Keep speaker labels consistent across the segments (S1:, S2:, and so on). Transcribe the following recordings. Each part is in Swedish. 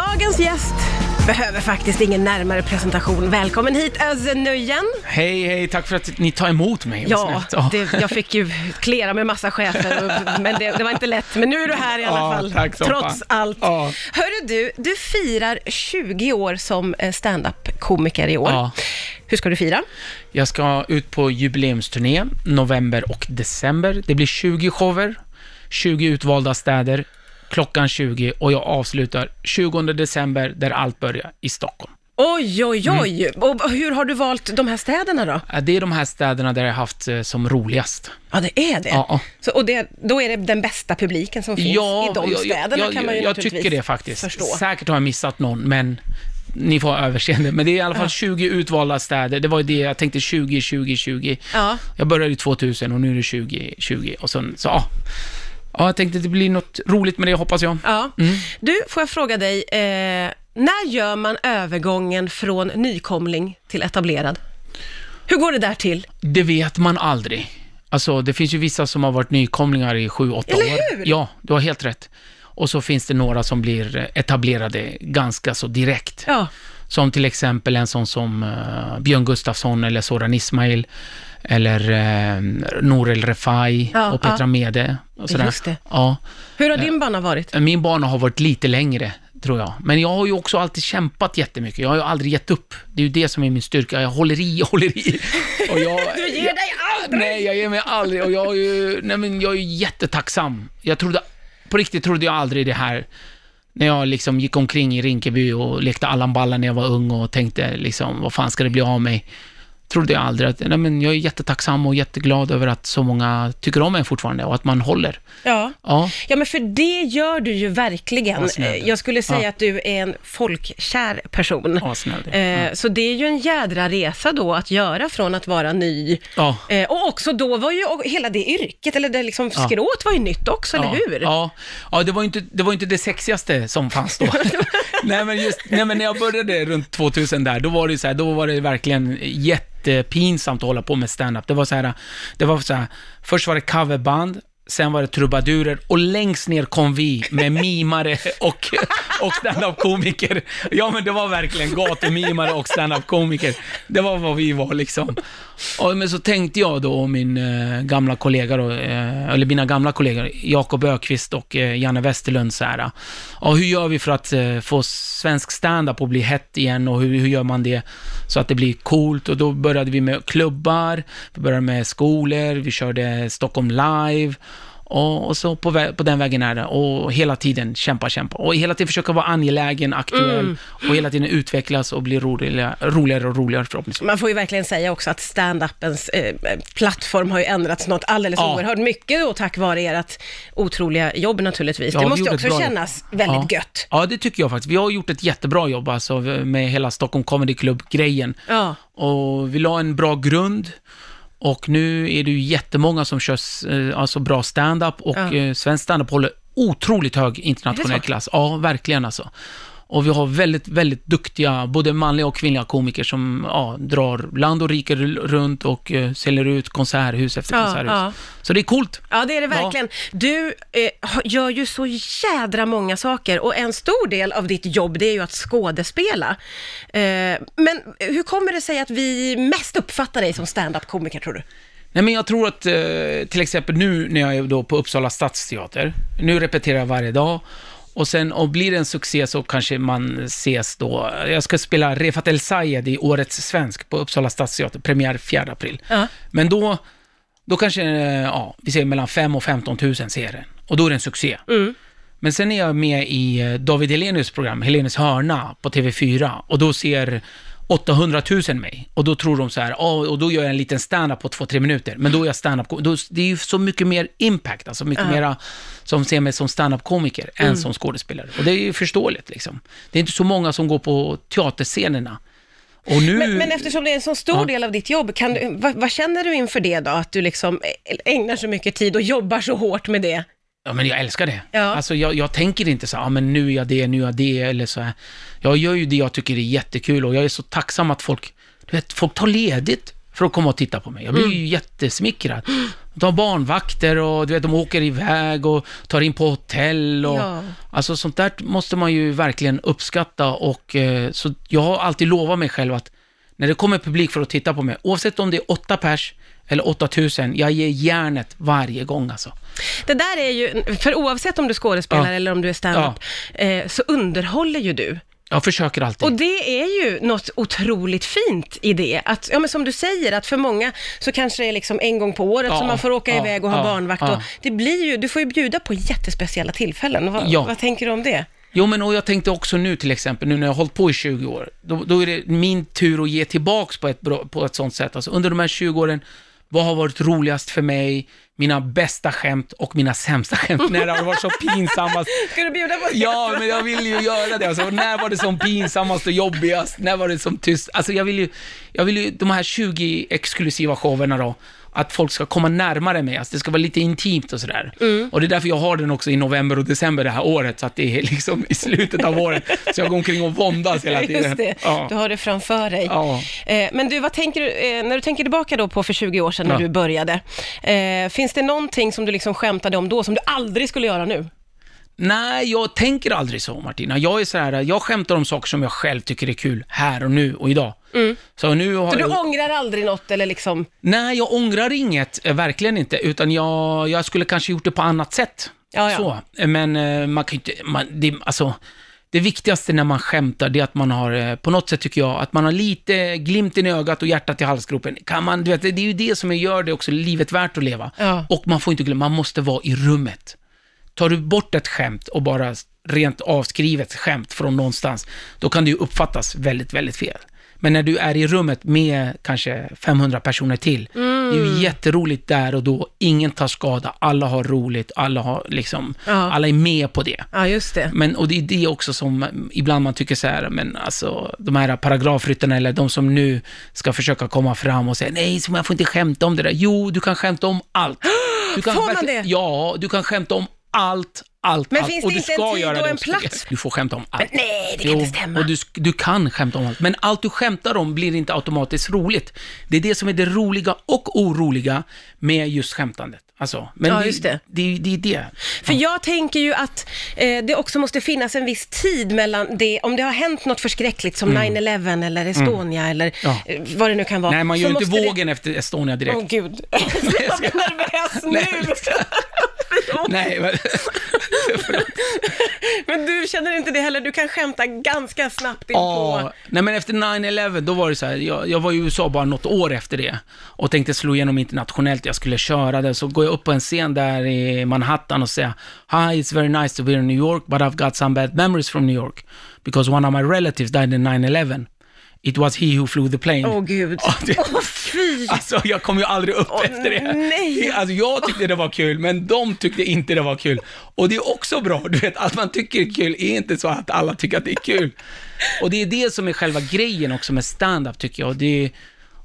S1: Dagens gäst behöver faktiskt ingen närmare presentation. Välkommen hit Özzen Nujen.
S2: Hej, hej, tack för att ni tar emot mig. Vad
S1: Ja,
S2: snällt. Ja.
S1: det, jag fick ju klära med massa chefer, och, men det, det var inte lätt. Men nu är du här i alla
S2: Ja,
S1: fall,
S2: tack som
S1: trots
S2: fan.
S1: allt.
S2: Ja.
S1: Hörru du, du firar 20 år som eh, stand-up-komiker i år.
S2: Ja.
S1: Hur ska du fira?
S2: Jag ska ut på jubileumsturné november och december. Det blir 20 shower, 20 utvalda städer, klockan 20 och jag avslutar 20 december där allt börjar i Stockholm.
S1: Oj, oj, oj! Och hur har du valt de här städerna då?
S2: Eh, Det är de här städerna där jag haft eh, som roligast.
S1: Ja, det är det.
S2: Ja, ja.
S1: Så, och det, då är det den bästa publiken som finns i de städerna
S2: jag,
S1: kan man ju
S2: jag
S1: naturligtvis
S2: tycker det faktiskt.
S1: förstå.
S2: Säkert har jag missat någon, men ni får ha överseende. Men det är i alla fall 20 utvalda städer. Det var ju det jag tänkte, 20, 20, 20.
S1: Ja.
S2: Jag började ju 2000 och nu är det 20, 20. Och sen, så ja. Ja, jag tänkte att det blir något roligt med det, hoppas jag.
S1: Ja. Du, får jag fråga dig, eh, när gör man övergången från nykomling till etablerad? Hur går det där till?
S2: Det vet man aldrig. Alltså, det finns ju vissa som har varit nykomlingar i 7-8 år.
S1: Eller hur?
S2: Ja, du har helt rätt. Och så finns det några som blir eh, etablerade ganska så direkt.
S1: Ja.
S2: Som till exempel en sån som eh, Björn Gustafsson eller Soran Ismail eller uh, Norel Refai
S1: Ja,
S2: och Petra
S1: ja.
S2: Mede. Och sådär.
S1: Just det.
S2: Ja.
S1: Hur
S2: Eh.
S1: har din bana varit?
S2: Min bana har varit lite längre, tror jag. Men jag har ju också alltid kämpat jättemycket. Jag har ju aldrig gett upp. Det är ju det som är min styrka. Jag håller i, jag håller i. Och jag,
S1: Du ger dig aldrig!
S2: Nej, jag ger mig aldrig. Och jag är ju, nej men jag är ju jättetacksam. Jag trodde, på riktigt trodde jag aldrig det här. När jag liksom gick omkring i Rinkeby och lekte Allan Ballan när jag var ung och tänkte liksom, vad fan ska det bli av mig? Trodde jag aldrig att, nej men jag är jättetacksam och jätteglad över att så många tycker om en fortfarande och att man håller.
S1: Ja.
S2: Ja,
S1: Ja, men för det gör du ju verkligen.
S2: Vad snäll du.
S1: Jag skulle säga
S2: Ja.
S1: att du är en folkkär person.
S2: Ja, snäll du.
S1: Eh, Så det är ju en jädra resa då att göra från att vara ny.
S2: ja.
S1: Eh, Och också då var ju och hela det yrket, eller det liksom skrået var ju nytt också, eller hur?
S2: Ja, ja det, var ju inte, det var ju inte det sexigaste som fanns då. nej, men just, nej, men när jag började runt 2000 där, då var det ju så här, då var det verkligen jättepinsamt att hålla på med stand-up. Det var så här, det var så här, först var det coverband, sen var det trubadurer och längst ner kom vi med mimare och, och stand-up-komiker. Ja, men det var verkligen gatumimare och stand-up-komiker. Det var vad vi var liksom. Och, men så tänkte jag då och min eh, gamla kollega då, eh, eller mina gamla kollegor, Jakob Ökvist och eh, Janne Westerlund så här. Ja, hur gör vi för att eh, få svensk stand-up att bli hett igen och hur, hur gör man det så att det blir coolt? Och då började vi med klubbar, vi började med skolor, vi körde Stockholm live. Och, och så på, vä- på den vägen är det. Och hela tiden kämpa, kämpa. Och hela tiden försöka vara angelägen, aktuell och hela tiden utvecklas och bli roligare, roligare och roligare förhoppningsvis.
S1: Man får ju verkligen säga också att stand-upens eh, plattform har ju ändrats något alldeles
S2: Ja.
S1: oerhört mycket då tack vare ert otroliga jobb naturligtvis.
S2: Ja,
S1: det
S2: vi
S1: måste ju
S2: gjorde ett
S1: också
S2: bra jobb.
S1: kännas väldigt
S2: ja.
S1: gött.
S2: Ja, det tycker jag faktiskt. Vi har gjort ett jättebra jobb alltså, med hela Stockholm Comedy Club-grejen.
S1: Ja.
S2: Och vi la en bra grund. Och nu är det ju jättemånga som kör eh, alltså bra stand-up och
S1: Ja.
S2: eh, svensk stand-up håller otroligt hög
S1: Är
S2: internationell
S1: det så?
S2: klass. Ja, verkligen alltså. Och vi har väldigt, väldigt duktiga, både manliga och kvinnliga komiker som ja, drar land och rike runt och eh, säljer ut konserthus efter
S1: Ja,
S2: konserthus.
S1: ja.
S2: Så det är coolt.
S1: Ja, det är det
S2: Ja.
S1: verkligen. Du eh, har- gör ju så jädra många saker och en stor del av ditt jobb det är ju att skådespela. Eh, men hur kommer det sig att vi mest uppfattar dig som stand-up-komiker tror du?
S2: Nej, men jag tror att eh, till exempel nu när jag är då på Uppsala stadsteater, nu repeterar jag varje dag, och sen om blir det en succé så kanske man ses då. Jag ska spela Refat El Sayed i Årets svensk på Uppsala stadsteater, premiär 4 april.
S1: Ja.
S2: Men då, då kanske, eh, ja, vi säger mellan 5 och 15 000 ser den. Och då är det en succé.
S1: Mm.
S2: Men sen är jag med i eh, David Helenius program, Helenius hörna, på TV4. Och då ser 800 000 mig. Och då tror de så här, "Ja, och då gör jag en liten stand-up på 2-3 minuter. Men då är jag stand-up då, Det är ju så mycket mer impact, alltså mycket mera som ser mig som stand-up-komiker än
S1: Mm.
S2: som skådespelare. Och det är ju förståeligt liksom. Det är inte så många som går på teaterscenerna. Och nu...
S1: Men, men eftersom det är en så stor
S2: Ja.
S1: del av ditt jobb, kan du, vad, vad känner du inför det då? Att du liksom ägnar så mycket tid och jobbar så hårt med det?
S2: Ja, men jag älskar det.
S1: Ja.
S2: Alltså, jag, jag tänker inte så här, ah, men nu är jag det, nu är jag det, eller så här. Jag gör ju det jag tycker är jättekul och jag är så
S1: Mm.
S2: tacksam att folk, du vet, folk tar ledigt för att komma och titta på mig. Jag blir ju jättesmickrad. De har barnvakter och du vet, de åker iväg och tar in på hotell. Och,
S1: Ja.
S2: Alltså sånt där måste man ju verkligen uppskatta och eh, så jag har alltid lovat mig själv att när det kommer publik för att titta på mig, oavsett om det är åtta pers eller 8000, jag ger järnet varje gång alltså.
S1: Det där är ju, för oavsett om du skådespelar
S2: Ja.
S1: eller om du är standup, eh, så underhåller ju du.
S2: Jag försöker alltid.
S1: Och det är ju något otroligt fint i det. Att, ja, men som du säger, att för många så kanske det är liksom en gång på året
S2: Ja,
S1: som man får åka
S2: ja,
S1: iväg och ha
S2: ja,
S1: barnvakt.
S2: ja.
S1: Och det blir ju, du får ju bjuda på jättespeciella tillfällen. Vad,
S2: Ja.
S1: vad tänker du om det?
S2: Jo, men och jag tänkte också nu till exempel, nu när jag har hållit på i 20 år, då, då är det min tur att ge tillbaks på ett, bra- på ett sånt sätt. Alltså, under de här 20 åren, vad har varit roligast för mig? Mina bästa skämt och mina sämsta skämt. När har det varit så pinsammast?
S1: Ska du bjuda på det?
S2: Ja, men jag vill ju göra det. Alltså, när var det som pinsammast och jobbigast? När var det som tyst? Alltså, jag vill ju, jag vill ju de här 20 exklusiva showerna då, att folk ska komma närmare mig. Alltså, det ska vara lite intimt och sådär.
S1: Mm.
S2: Och det är därför jag har den också i november och december det här året, så att det är liksom i slutet av året. Så jag går omkring och våndas hela tiden.
S1: Just det,
S2: Ja.
S1: du har det framför dig.
S2: Ja.
S1: Eh, Men du, vad tänker du, eh, när du tänker tillbaka då på för 20 år sedan när
S2: Ja.
S1: du började, eh, finns det någonting som du liksom skämtade om då som du aldrig skulle göra nu?
S2: Nej, jag tänker aldrig så Martina. Jag är så här, jag skämtar om saker som jag själv tycker är kul här och nu och idag. Så nu har
S1: Så Mm. du
S2: jag...
S1: ångrar aldrig något eller liksom?
S2: Nej, jag ångrar inget, eh, verkligen inte, utan jag, jag skulle kanske gjort det på annat sätt.
S1: Ja, ja.
S2: Så. Eh, Men eh, man kan ju inte, man, det, alltså, det viktigaste när man skämtar, det är att man har, eh, på något sätt tycker jag, att man har lite glimten i ögat och hjärtat i halsgropen. Kan man, du vet, det är ju det som gör det också livet värt att leva.
S1: Ja.
S2: Och man får inte glömma, man måste vara i rummet. Tar du bort ett skämt och bara rent avskrivet skämt från någonstans, då kan det ju uppfattas väldigt, väldigt fel. Men när du är i rummet med kanske 500 personer till, det är ju jätteroligt där och då, ingen tar skada, alla har roligt, alla, har liksom,
S1: Ja.
S2: alla är med på det.
S1: Ja, just det.
S2: Men, och det är det också som ibland man tycker så här, men alltså de här paragrafryttarna eller de som nu ska försöka komma fram och säga nej, så man får inte skämta om det där. Jo, du kan skämta om allt. Du kan
S1: Får man
S2: verkligen-
S1: det?
S2: Ja, du kan skämta om allt, allt,
S1: Men
S2: allt.
S1: finns
S2: och
S1: det
S2: du
S1: inte
S2: ska
S1: en tid
S2: göra
S1: och
S2: det
S1: en
S2: också.
S1: plats?
S2: Du får skämta om allt.
S1: nej, det kan inte stämma.
S2: Och du, sk- du kan skämta om allt, men allt du skämtar om blir inte automatiskt roligt. Det är det som är det roliga och oroliga med just skämtandet. Alltså, men
S1: Ja, just det.
S2: Det, det, det är det.
S1: För jag tänker ju att eh, det också måste finnas en viss tid mellan det, om det har hänt något förskräckligt som 9-11 eller Estonia eller
S2: Mm. Ja.
S1: eh, vad det nu kan vara.
S2: Nej, man
S1: så
S2: gör ju inte
S1: måste det-
S2: vågen efter Estonia direkt.
S1: Åh gud, jag blir nervös nu.
S2: Nej, men,
S1: Men du känner inte det heller, du kan skämta ganska snabbt in
S2: ja,
S1: på.
S2: nej, men efter 9-11, då var det så här, jag, jag var i USA bara något år efter det och tänkte slå igenom internationellt, jag skulle köra det, så går jag upp på en scen där i Manhattan och säger Hi, it's very nice to be in New York, but I've got some bad memories from New York, because one of my relatives died in 9-11. It was he who flew the plane.
S1: Åh gud.
S2: Ja, det-
S1: Åh fy.
S2: Alltså jag kom ju aldrig upp efter det.
S1: nej.
S2: Alltså jag tyckte det var kul, men de tyckte inte det var kul. Och det är också bra, du vet, att man tycker det är kul är inte så att alla tycker att det är kul. Och det är det som är själva grejen också med stand-up tycker jag. Det är,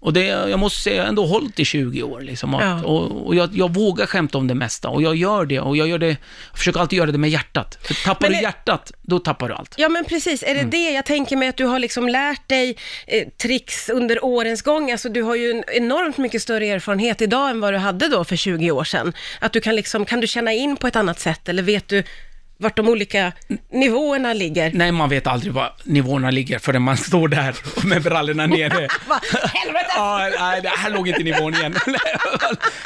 S2: och det, jag måste säga, jag har ändå hållit i 20 år. Liksom, att,
S1: Ja.
S2: Och, och jag, jag vågar skämta om det mesta och jag gör det. Och jag, gör det, jag försöker alltid göra det med hjärtat. För tappar
S1: Men
S2: du
S1: det-
S2: hjärtat, då tappar du allt.
S1: Ja men precis, är det
S2: Mm.
S1: det jag tänker mig att du har liksom lärt dig eh, tricks under årens gång? Alltså du har ju en enormt mycket större erfarenhet idag än vad du hade då för 20 år sedan. Att du kan liksom, kan du känna in på ett annat sätt eller vet du vart de olika nivåerna ligger?
S2: Nej, man vet aldrig var nivåerna ligger förrän man står där med brallorna nere.
S1: Va, helvete!
S2: Ja, nej, det här låg inte i nivån igen.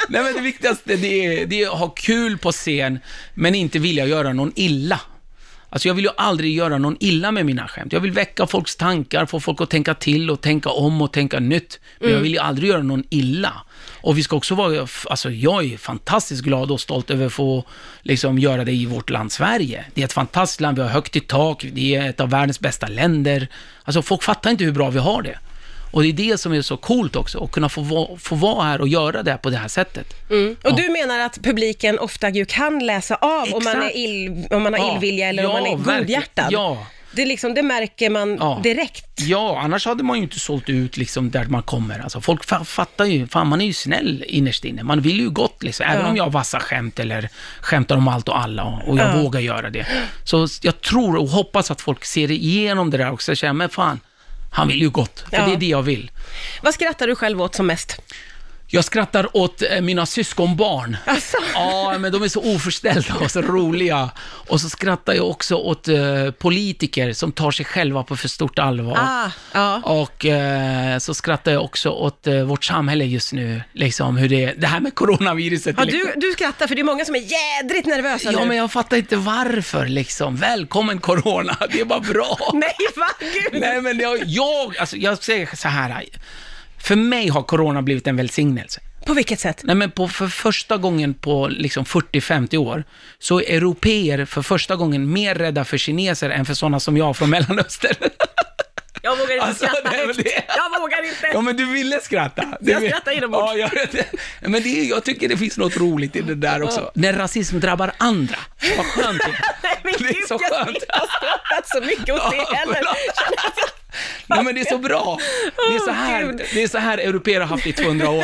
S2: nej, men det viktigaste det är, det är att ha kul på scen, men inte vilja göra någon illa. Alltså jag vill ju aldrig göra någon illa med mina skämt. Jag vill väcka folks tankar, få folk att tänka till och tänka om och tänka nytt. Men jag vill ju aldrig göra någon illa. Och vi ska också vara, alltså jag är fantastiskt glad och stolt över att få liksom göra det i vårt land Sverige. Det är ett fantastiskt land, vi har högt i tak, det är ett av världens bästa länder. Alltså folk fattar inte hur bra vi har det. Och det är det som är så coolt också, att kunna få, va- få vara här och göra det här på det här sättet.
S1: Mm. Och du menar att publiken ofta ju kan läsa av om man, är
S2: Exakt.
S1: ill, om man har
S2: Ja.
S1: illvilja eller om
S2: Ja,
S1: man är
S2: verkligen.
S1: godhjärtad?
S2: Ja.
S1: Det, är liksom, det märker man
S2: Ja.
S1: direkt.
S2: Ja, annars hade man ju inte sålt ut liksom där man kommer. Alltså, folk fa- fattar ju, fan man är ju snäll innerst inne. Man vill ju gott liksom, även
S1: Ja.
S2: om jag har vassa skämt eller skämtar om allt och alla och, och jag vågar göra det. Så s- jag tror och hoppas att folk ser igenom det där också och känner, men fan, han vill ju gott. För
S1: Ja.
S2: det är det jag vill.
S1: Vad skrattar du själv åt som mest?
S2: Jag skrattar åt eh, mina syskonbarn.
S1: Alltså.
S2: Ja, men de är så oförställda och så roliga. Och så skrattar jag också åt eh, politiker som tar sig själva på för stort allvar.
S1: Ah, ja.
S2: Och eh, så skrattar jag också åt eh, vårt samhälle just nu, liksom hur det är. Det här med coronaviruset.
S1: Ja,
S2: liksom.
S1: du, du skrattar för det är många som är jädrigt nervösa
S2: Ja,
S1: nu.
S2: men jag fattar inte varför liksom. Välkommen corona, det var bra.
S1: Nej, va? Gud.
S2: Nej, men jag, jag, alltså, jag säger så här. För mig har corona blivit en välsignelse.
S1: På vilket sätt?
S2: Nej, men på, för första gången på liksom 40-50 år så är europeer för första gången mer rädda för kineser än för sådana som jag från Mellanöstern.
S1: Jag vågar inte
S2: Alltså,
S1: skratta
S2: nej, men
S1: högt.
S2: det-
S1: Jag vågar inte.
S2: Ja, men du ville skratta. Du
S1: Jag
S2: vill-
S1: skrattar inombords.
S2: Ja, jag, vet det. men det, är- jag tycker det finns något roligt i det där också. När rasism drabbar andra. Vad skönt det är.
S1: Nej, men
S2: Det
S1: gud,
S2: är så
S1: jag har
S2: skönt.
S1: inte skrattat så mycket åt det heller.
S2: Nej men det är så bra. Det är så här,
S1: Gud.
S2: det är så här europeer har haft i 200 år.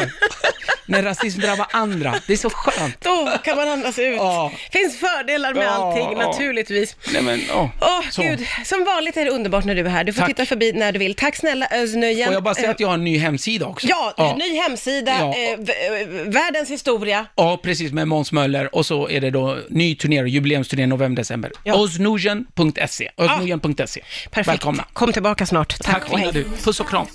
S2: När rasism drabbar andra. Det är så skönt.
S1: Då kan man andas ut.
S2: Ja.
S1: Finns fördelar med
S2: Ja,
S1: allting,
S2: ja.
S1: naturligtvis.
S2: Nej men, åh.
S1: Åh,
S2: Så.
S1: gud. Som vanligt är det underbart när du är här. Du får
S2: Tack.
S1: titta förbi när du vill. Tack snälla Özz Eh,
S2: Och jag bara säger att jag har en ny hemsida också.
S1: Ja, ny hemsida,
S2: Ja.
S1: eh, v- eh, världens historia.
S2: Ja, precis, med Måns Möller och så är det då ny turné, jubileumsturné november-december.
S1: Ja. Ah.
S2: Oznugen.se. Oznugen.se.
S1: Perfekt.
S2: E. Välkomna.
S1: Kom tillbaka snart. Tack,
S2: Tack
S1: och hej.
S2: fina du. Puss och kram.